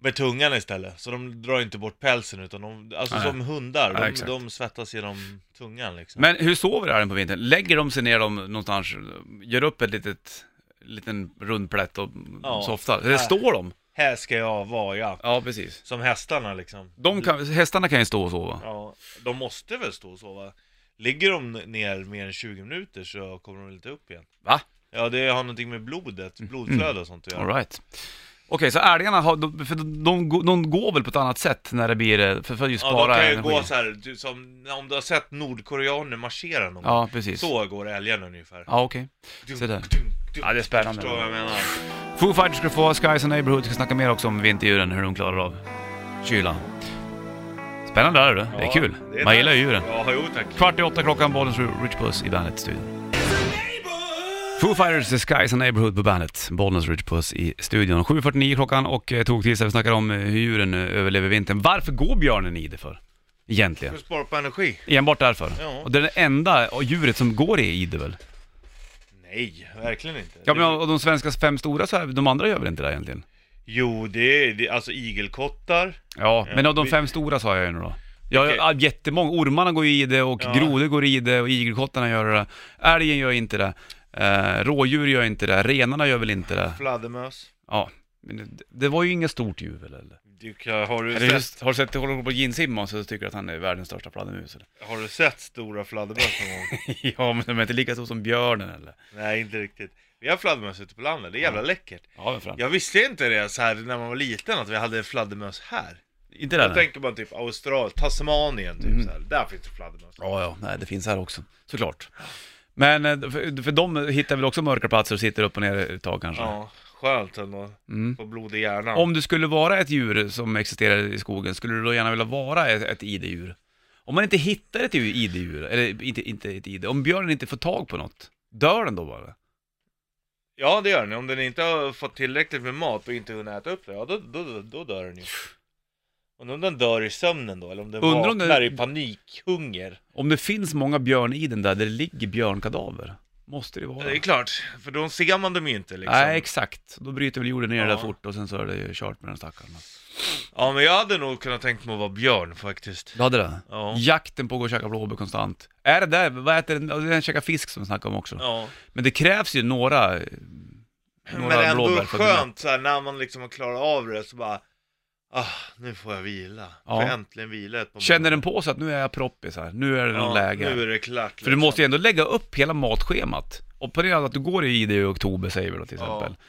Speaker 2: med tungan istället, så de drar inte bort pälsen utan de, alltså
Speaker 1: Nej.
Speaker 2: som hundar,
Speaker 1: Ja,
Speaker 2: de,
Speaker 1: exakt.
Speaker 2: de svettas genom tungan liksom.
Speaker 1: Men hur sover älgen på vintern? Lägger de sig ner dem någonstans, gör upp ett litet, liten rund plätt och
Speaker 2: Ja.
Speaker 1: softar? Eller
Speaker 2: Äh.
Speaker 1: står de?
Speaker 2: Här ska jag vara, ja.
Speaker 1: Ja, precis.
Speaker 2: Som hästarna liksom.
Speaker 1: De kan, hästarna kan ju stå och sova.
Speaker 2: Ja, de måste väl stå och sova. Ligger de ner mer än 20 minuter så kommer de lite upp igen.
Speaker 1: Va?
Speaker 2: Ja, det har någonting med blodet,
Speaker 1: Mm.
Speaker 2: blodflöde och sånt att göra.
Speaker 1: Alright. Okej, så älgarna har, de, för de, de, går- de går väl på ett annat sätt när det blir, eh, för, för att just
Speaker 2: Ja,
Speaker 1: spara
Speaker 2: de kan ju
Speaker 1: energi?
Speaker 2: gå så här, du, som om du har sett nordkoreaner marschera någon gång.
Speaker 1: Ja, precis.
Speaker 2: Så går älgarna ungefär.
Speaker 1: Ja, okej.
Speaker 2: Dunk,
Speaker 1: så där.
Speaker 2: dunk, dunk.
Speaker 1: Ja, det är spännande.
Speaker 2: Förstår vad jag menar?
Speaker 1: Foo Fighters ska få ha Skies and Neighborhood, ska snacka mer också om vinterdjuren, hur de klarar av kylan. Spännande där du, det är
Speaker 2: Ja,
Speaker 1: kul.
Speaker 2: det är
Speaker 1: Man
Speaker 2: nice.
Speaker 1: gillar ju djuren.
Speaker 2: Ja, jo tack.
Speaker 1: Kvart i åtta klockan, Bollens Rich Puss i Bandet-studion. Foo Fighters, The Skies and Neighborhood på Bandet. Bollnäs Rich Puss i studion. 7.49 klockan och eh, tog tisdag. Vi snackar om eh, hur djuren eh, överlever vintern. Varför går björnen i det för? Egentligen.
Speaker 2: För att spara på energi?
Speaker 1: Enbart därför.
Speaker 2: Ja.
Speaker 1: Och det är det enda eh, djuret som går i det väl?
Speaker 2: Nej, verkligen inte.
Speaker 1: Ja men och de svenska fem stora så är, de andra gör väl inte det egentligen?
Speaker 2: Jo, det är, det, alltså igelkottar.
Speaker 1: Ja, men av de
Speaker 2: vi-
Speaker 1: fem stora sa jag ju nu då. Ja,
Speaker 2: Okej.
Speaker 1: ja, jättemånga. Ormarna går i det och
Speaker 2: Ja.
Speaker 1: grodor går i det och igelkottarna gör det. Älgen gör inte det. Eh, rådjur gör inte det. Renarna gör väl inte det.
Speaker 2: Fladdermöss.
Speaker 1: Ja, men det, det var ju inget stort djur väl eller?
Speaker 2: Du, kan- har, du
Speaker 1: Eller
Speaker 2: sett,
Speaker 1: just, har du sett, håller på Gene Simmons och tycker att han är världens största fladdermus eller?
Speaker 2: har du sett stora fladdermöss någon gång?
Speaker 1: ja, men de är inte lika stora som björnen eller?
Speaker 2: Nej, inte riktigt. Vi har fladdermöss ute på landet, det är jävla läckert.
Speaker 1: Ja, men fram.
Speaker 2: Jag visste inte det så här när man var liten, att vi hade fladdermöss här.
Speaker 1: Inte
Speaker 2: Då
Speaker 1: den? här?
Speaker 2: tänker man typ Australien, Tasmanien typ
Speaker 1: Mm.
Speaker 2: så här. där finns det fladdermöss.
Speaker 1: Ja, ja, nej det finns här också, såklart. Men eh, för, för de hittar väl också mörka platser och sitter upp och ner ett tag kanske?
Speaker 2: Ja, skönt ändå.
Speaker 1: Mm.
Speaker 2: Få blod i hjärnan.
Speaker 1: Om du skulle vara ett djur som existerar i skogen, skulle du då gärna vilja vara ett, ett idedjur? Om man inte hittar ett djur- idedjur, eller inte, inte ett ide, om björnen inte får tag på något, dör den då bara?
Speaker 2: Ja, det gör den. Om den inte har fått tillräckligt med mat och inte hunnit äta upp det, ja då, då, då, då dör den ju. Undrar om den dör i sömnen då, eller om den
Speaker 1: Undrar om den-
Speaker 2: vaknar i panikhunger.
Speaker 1: Om det finns många björniden där, där det ligger björnkadaver, måste det vara.
Speaker 2: Det är klart, för då ser man dem ju inte liksom.
Speaker 1: Nej, exakt. Då bryter väl jorden ner det där
Speaker 2: Ja.
Speaker 1: fort och sen så är det ju kört med den stackaren.
Speaker 2: Ja, men jag hade nog kunnat tänkt mig att vara björn faktiskt.
Speaker 1: Du hade det?
Speaker 2: Ja.
Speaker 1: Jakten på att gå och käka blåbär konstant. Är det där, vad äter den? ja, Den käkar fisk som vi snackade om också.
Speaker 2: Ja.
Speaker 1: Men det krävs ju några, eh, några
Speaker 2: Men det är ändå
Speaker 1: blåbär för att-
Speaker 2: skönt så här, när man liksom har klarat av det så bara Ah, nu får jag vila.
Speaker 1: Ja.
Speaker 2: Får äntligen vila ett par
Speaker 1: Känner den på sig att nu är jag proppis här, nu är det någon läge.
Speaker 2: Nu är det liksom klart
Speaker 1: För du måste ju ändå lägga upp hela matschemat. Och på det att du går i det i oktober säger vi då till
Speaker 2: Ja.
Speaker 1: exempel.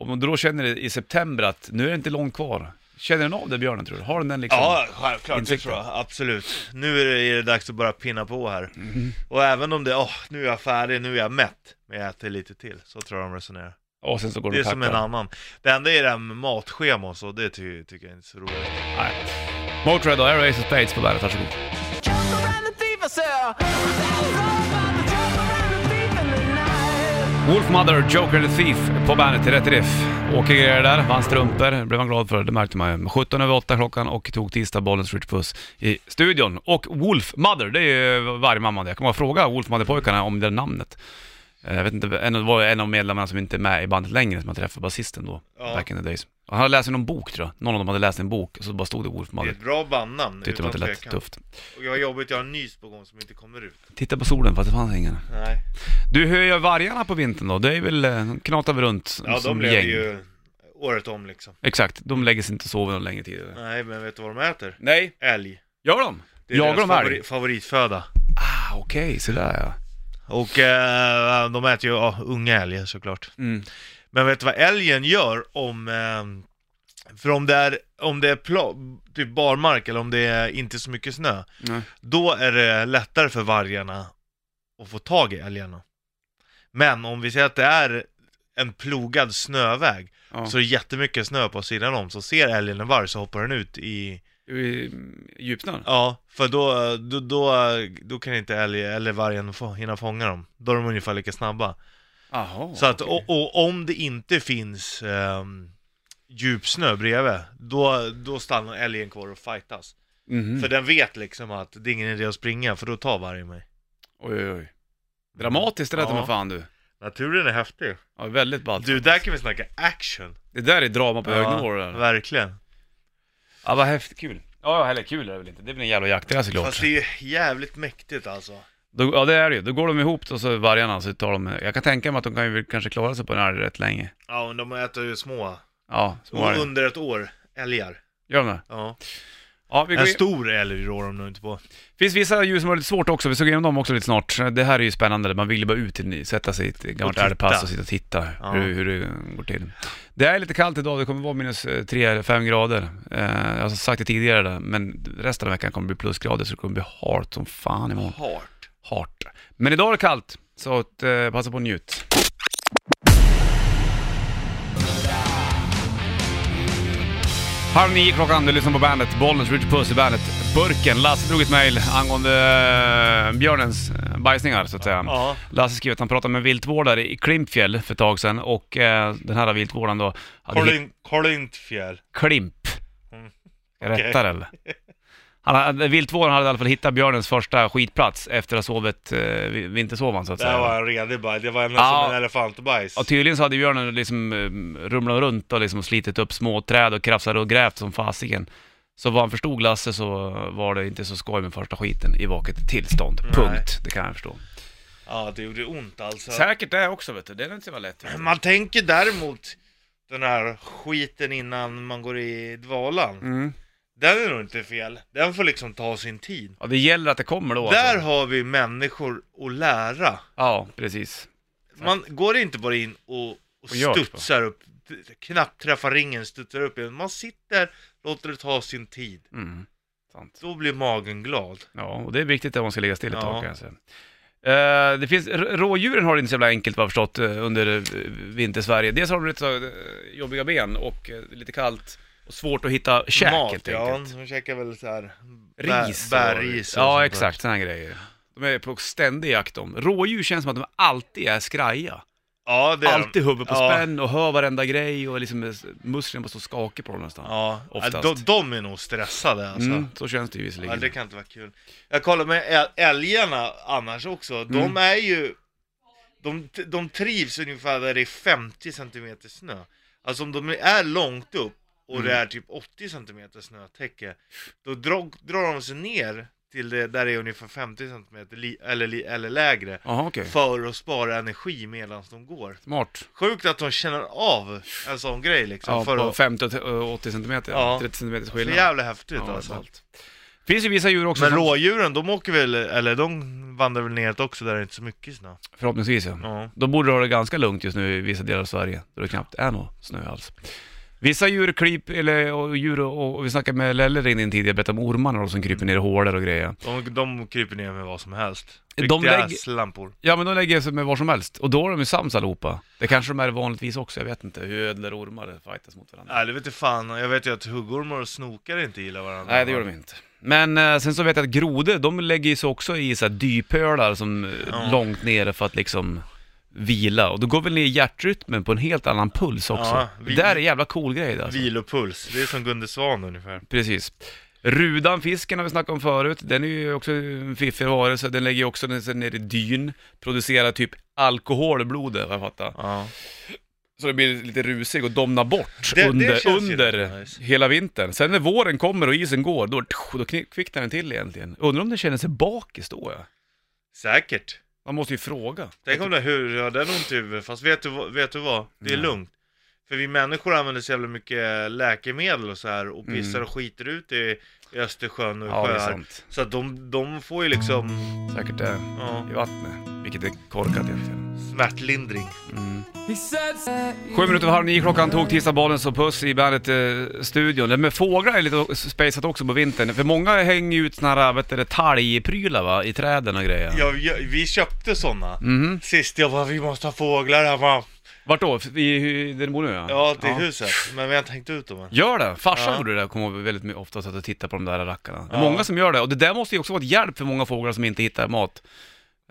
Speaker 1: Om du då känner det i september att nu är det inte långt kvar, Känner den av det björnen tror du? Har den den liksom?
Speaker 2: Ja, självklart, det
Speaker 1: Insekter.
Speaker 2: tror jag. Absolut. Nu är det, är det dags att bara pinna på här.
Speaker 1: Mm.
Speaker 2: Och även om det, åh, nu är jag färdig, nu är jag mätt. Men jag äter lite till, så tror jag de resonerar.
Speaker 1: Och sen så går
Speaker 2: Det
Speaker 1: du
Speaker 2: är
Speaker 1: och
Speaker 2: som en
Speaker 1: tackar.
Speaker 2: annan. Det enda är det här med matschema och så, det ty, tycker jag inte är så roligt.
Speaker 1: Nej. Motörhead och Air Ace of Spades på bandet, varsågod.
Speaker 5: Jump around the thief, I said. That's all about the jump around the thief in the night.
Speaker 1: Wolfmother, Joker the Thief på bandet, rätt riff. Åke grejer där, vann strumpor, det blev man glad för, det märkte man ju. 17 över 8 klockan och tog tisdag bollens Rich Puss i studion. Och Wolfmother, det är ju varje mamma det. Jag kommer att fråga Wolfmother-pojkarna om det namnet. Eh, Jag vet inte, en, det var en av medlemmarna som inte är med i bandet längre som jag träffade, basisten då,
Speaker 2: Ja.
Speaker 1: back in the days. Han hade läst i någon bok tror jag, någon av dem hade läst en bok och så bara stod det
Speaker 2: Det är
Speaker 1: Wolfmother.
Speaker 2: ett bra bandnamn,
Speaker 1: Tyckte man
Speaker 2: utan
Speaker 1: att det lät
Speaker 2: tvekan.
Speaker 1: tufft.
Speaker 2: Och jag har jobbigt, jag har en nys på gång som inte kommer ut.
Speaker 1: Titta på solen fast det fanns ingen.
Speaker 2: Nej.
Speaker 1: Du, hur gör vargarna på vintern då? Det är väl, eh, knatar vi runt
Speaker 2: Ja, de
Speaker 1: som
Speaker 2: lever
Speaker 1: gäng?
Speaker 2: ju året om liksom.
Speaker 1: Exakt, de lägger sig inte och sover någon längre tid.
Speaker 2: Nej, men vet du vad de äter?
Speaker 1: Nej.
Speaker 2: Älg.
Speaker 1: Gör de?
Speaker 2: Det är
Speaker 1: Jagar
Speaker 2: deras
Speaker 1: de älg?
Speaker 2: favori- favoritföda.
Speaker 1: Ah, okej, sådär ja.
Speaker 2: Och eh, de äter ju ja, unga älgar såklart.
Speaker 1: Mm.
Speaker 2: Men vet du vad älgen gör om... Eh, för om det är, om det är pla- typ barmark eller om det är inte så mycket snö,
Speaker 1: Nej.
Speaker 2: då är det lättare för vargarna att få tag i älgarna. Men om vi säger att det är en plogad snöväg,
Speaker 1: Ja.
Speaker 2: så är det jättemycket snö på sidan om, så ser älgen en varg så hoppar den ut i...
Speaker 1: I Djupnar?
Speaker 2: Ja, för då, då, då, då kan inte älg eller vargen få, hinna fånga dem. Då är de ungefär lika snabba.
Speaker 1: Jaha.
Speaker 2: Så att, och, och om det inte finns ehm, djupsnö bredvid, då, då stannar älgen kvar och fightas.
Speaker 1: Mhm.
Speaker 2: För den vet liksom att det är ingen idé att springa, för då tar vargen mig.
Speaker 1: Oj, oj, oj. Dramatiskt det där
Speaker 2: Ja.
Speaker 1: ja. fan du.
Speaker 2: Naturen är häftig.
Speaker 1: Ja, väldigt ballt.
Speaker 2: Du, där kan vi snacka action.
Speaker 1: Det där är drama på hög nivå det där.
Speaker 2: verkligen.
Speaker 1: Ja, vad häftigt. Kul. Ja, ja, eller kul är det väl inte. Det är väl en jävla jaktdress såklart.
Speaker 2: Fast det är ju jävligt mäktigt alltså.
Speaker 1: Då, ja, det är det ju. Då går de ihop och så vargarna så tar de... Jag kan tänka mig att de kan ju väl kanske klara sig på en älg rätt länge.
Speaker 2: Ja, men de äter ju små.
Speaker 1: Ja, små
Speaker 2: Och
Speaker 1: älgar.
Speaker 2: under ett år, älgar.
Speaker 1: Gör de det?
Speaker 2: Ja.
Speaker 1: Ja, vi går
Speaker 2: En
Speaker 1: in-
Speaker 2: stor älg rår de nog inte på.
Speaker 1: finns vissa djur som är lite svårt också, vi såg igenom dem också lite snart. Det här är ju spännande, man vill ju bara ut till ny, sätta sig i ett gammalt
Speaker 2: Och titta.
Speaker 1: älgpass och sitta och titta
Speaker 2: Ja.
Speaker 1: hur, hur det går till. Det är lite kallt idag, det kommer vara minus 3 eller 5 grader. Eh, jag har sagt det tidigare, där, men resten av veckan kommer det bli plusgrader så det kommer bli halt som fan imorgon.
Speaker 2: Hart.
Speaker 1: Hart. Men idag är det kallt, så att, eh, passa på och njut. Halv nio klockan, du lyssnar på bandet. Bollens Richard Puss i bandet. Burken. Lasse drog ett mejl angående eh, björnens eh, bajsningar, så att säga.
Speaker 2: Ja.
Speaker 1: Lasse skrev att han pratade med en viltvårdare i Klimpfjäll för ett tag sedan och eh, den här viltvårdaren då... hade hitt-
Speaker 2: Colin, Colintfjäll.
Speaker 1: Klimp. Jag
Speaker 2: Mm. Okej.
Speaker 1: rättar eller? Han hade, viltvården hade i alla fall hittat björnens första skitplats efter att ha sovit eh, vi- vintersovan så att
Speaker 2: Det här
Speaker 1: säga.
Speaker 2: var en redig bajs. Det var en,
Speaker 1: Ja.
Speaker 2: som en elefantbajs.
Speaker 1: Och tydligen så hade björnen liksom eh, rumlat runt och liksom slitit upp små träd och krafsat och grävt som fasiken. Så vad han förstod Lasse så var det inte så skoj med första skiten i vaket tillstånd.
Speaker 2: Nej.
Speaker 1: Punkt. Det kan jag förstå.
Speaker 2: Ja, det gjorde ont alltså.
Speaker 1: Säkert det också vet du. Det är inte så vara lätt.
Speaker 2: Man tänker däremot den här skiten innan man går i dvalan.
Speaker 1: Mm.
Speaker 2: Den är nog inte fel. Den får liksom ta sin tid.
Speaker 1: Ja, det gäller att det kommer då
Speaker 2: Där
Speaker 1: alltså.
Speaker 2: har vi människor att lära.
Speaker 1: Ja, precis.
Speaker 2: Man går inte bara in och, och,
Speaker 1: gör så.
Speaker 2: studsar upp, d- knappt träffar ringen, studsar upp igen. Man sitter, låter det ta sin tid.
Speaker 1: Mm. Sant.
Speaker 2: Då blir magen glad.
Speaker 1: Ja, och det är viktigt att man ska ligga still ett tag
Speaker 2: Ja.
Speaker 1: kanske. Eh, det finns, r- rådjuren har det inte så jävla enkelt vad jag förstått eh, under eh, vintersverige. Dels har de lite så, eh, jobbiga ben och eh, lite kallt och svårt att hitta käk helt
Speaker 2: ja.
Speaker 1: enkelt.
Speaker 2: De käkar väl så här bär-
Speaker 1: Ris.
Speaker 2: bärris och sånt
Speaker 1: Ja,
Speaker 2: där.
Speaker 1: exakt sådana grejer. De är på ständig jakt om. Rådjur känns som att de alltid är skraja.
Speaker 2: Ja, det är de.
Speaker 1: Alltid huvudet på
Speaker 2: Ja.
Speaker 1: spänn och hör varenda grej och liksom eh, musklerna bara så skakig på dem nästan.
Speaker 2: Ja,
Speaker 1: Oftast.
Speaker 2: de, de är nog stressade alltså.
Speaker 1: Mm, så känns det ju
Speaker 2: Ja,
Speaker 1: visserligen.
Speaker 2: det kan inte vara kul. Jag kollar med äl- älgarna annars också,
Speaker 1: Mm.
Speaker 2: de är ju... De, de trivs ungefär där det är 50 cm snö. Alltså om de är långt upp och det
Speaker 1: Mm.
Speaker 2: är typ 80 cm snötäcke, då drar, drar de sig ner till det där det är ungefär 50 cm li, eller, li, eller lägre
Speaker 1: Jaha, okej.
Speaker 2: för att spara energi medan de går.
Speaker 1: Smart.
Speaker 2: Sjukt att de känner av en sån grej liksom.
Speaker 1: Ja,
Speaker 2: för
Speaker 1: på
Speaker 2: att,
Speaker 1: 50 och t- och 80 centimeter,
Speaker 2: Ja.
Speaker 1: 30 centimeters
Speaker 2: så
Speaker 1: skillnad.
Speaker 2: jävla häftigt
Speaker 1: Ja,
Speaker 2: alltså.
Speaker 1: ballt. finns ju vissa djur också
Speaker 2: Men
Speaker 1: som-
Speaker 2: rådjuren, de åker väl, eller de vandrar väl neråt också där det är inte så mycket snö?
Speaker 1: Förhoppningsvis ja.
Speaker 2: Ja.
Speaker 1: Då borde det ha det ganska lugnt just nu i vissa delar av Sverige, då det knappt är någon snö alls. Vissa djur kryp, eller och djur och, och vi snackade med Lelle in tidigare, berättade om ormarna då, som kryper ner i hålor och grejer.
Speaker 2: De, de kryper ner med vad som helst.
Speaker 1: De
Speaker 2: Riktiga
Speaker 1: lägger-
Speaker 2: slampor.
Speaker 1: Ja men de lägger sig med var som helst, och då är de ju sams allihopa. Det kanske de är vanligtvis också, jag vet inte. Hur ödlor och ormar fightas mot varandra.
Speaker 2: Nej, det vet jag fan. Jag vet ju att huggormar och snokar inte gillar varandra.
Speaker 1: Nej det gör de inte. Men eh, sen så vet jag att grodor, de lägger ju sig också i så här dypölar som eh, långt nere för att liksom vila. Och då går väl ner i hjärtrytmen på en helt annan puls också.
Speaker 2: Ja, vi-
Speaker 1: Det där är en jävla cool grej det, alltså.
Speaker 2: Vilopuls. Det är som Gunde Svan ungefär.
Speaker 1: Precis. Rudan, fisken har vi snackat om förut, den är ju också en fiffig varelse. Den lägger ju också den sig ner i dyn, producerar typ alkohol i blodet, vad jag fattar.
Speaker 2: Ja.
Speaker 1: Så det blir lite rusig och domnar bort
Speaker 2: Det- det
Speaker 1: under,
Speaker 2: känns ju rätt
Speaker 1: under
Speaker 2: nice.
Speaker 1: hela vintern. Sen när våren kommer och isen går, då, då kni- kvicknar den till egentligen. Undrar om den känner sig bakis då ja.
Speaker 2: Säkert.
Speaker 1: Man måste ju fråga.
Speaker 2: Tänk om det hur jag hade ont i huvudet, fast vet du, vad- vet du vad? Det är lugnt. För vi människor använder så jävla mycket läkemedel och så här och pissar och skiter ut i, i Östersjön och
Speaker 1: Ja, det är
Speaker 2: sjöar.
Speaker 1: sant.
Speaker 2: Så att de, de får ju liksom
Speaker 1: Säkert det,
Speaker 2: ja,
Speaker 1: i vattnet. Vilket är korkat egentligen. Mm.
Speaker 2: smärtlindring.
Speaker 5: He said,
Speaker 1: Sju minuter över halv nio klockan tog tisdagsbollen så puss i bandet-studion. Det med fåglar är lite spejsat också på vintern. För många hänger ju ut såna här, vet du, det, talgprylar va, i träden och grejer.
Speaker 2: Ja, vi- vi köpte sådana.
Speaker 1: Mhm.
Speaker 2: Sist jag bara, vi måste ha fåglar hemma.
Speaker 1: Vart då? I, i, där du bor nu ja?
Speaker 2: Ja, till huset. Men vi har inte hängt ut dem än.
Speaker 1: Gör det! Farsan
Speaker 2: Ja.
Speaker 1: gjorde det där, kommer jag ihåg väldigt mycket ofta, satt och tittade på de där rackarna. Det är
Speaker 2: Ja.
Speaker 1: många som gör det, och det där måste ju också vara ett hjälp för många fåglar som inte hittar mat.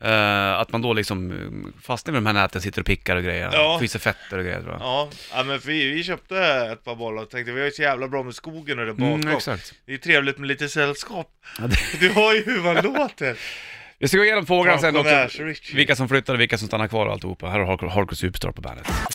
Speaker 1: Eh, att man då liksom eh, fastnar med de här näten, sitter och pickar och grejer,
Speaker 2: Ja.
Speaker 1: får i sig fetter och grejer tror jag.
Speaker 2: Ja, ja men vi, vi köpte ett par bollar och tänkte vi har ju så jävla bra med skogen och det bakom.
Speaker 1: Mm, exakt.
Speaker 2: Det är trevligt med lite sällskap.
Speaker 1: Ja, det...
Speaker 2: Du har ju hur man låter.
Speaker 1: Vi ska gå igenom fåglarna sen också,
Speaker 2: Pensionärs-Richie.
Speaker 1: vilka som flyttar och vilka som stannar kvar och alltihopa. Här har Har- Hardcore Superstar på bandet.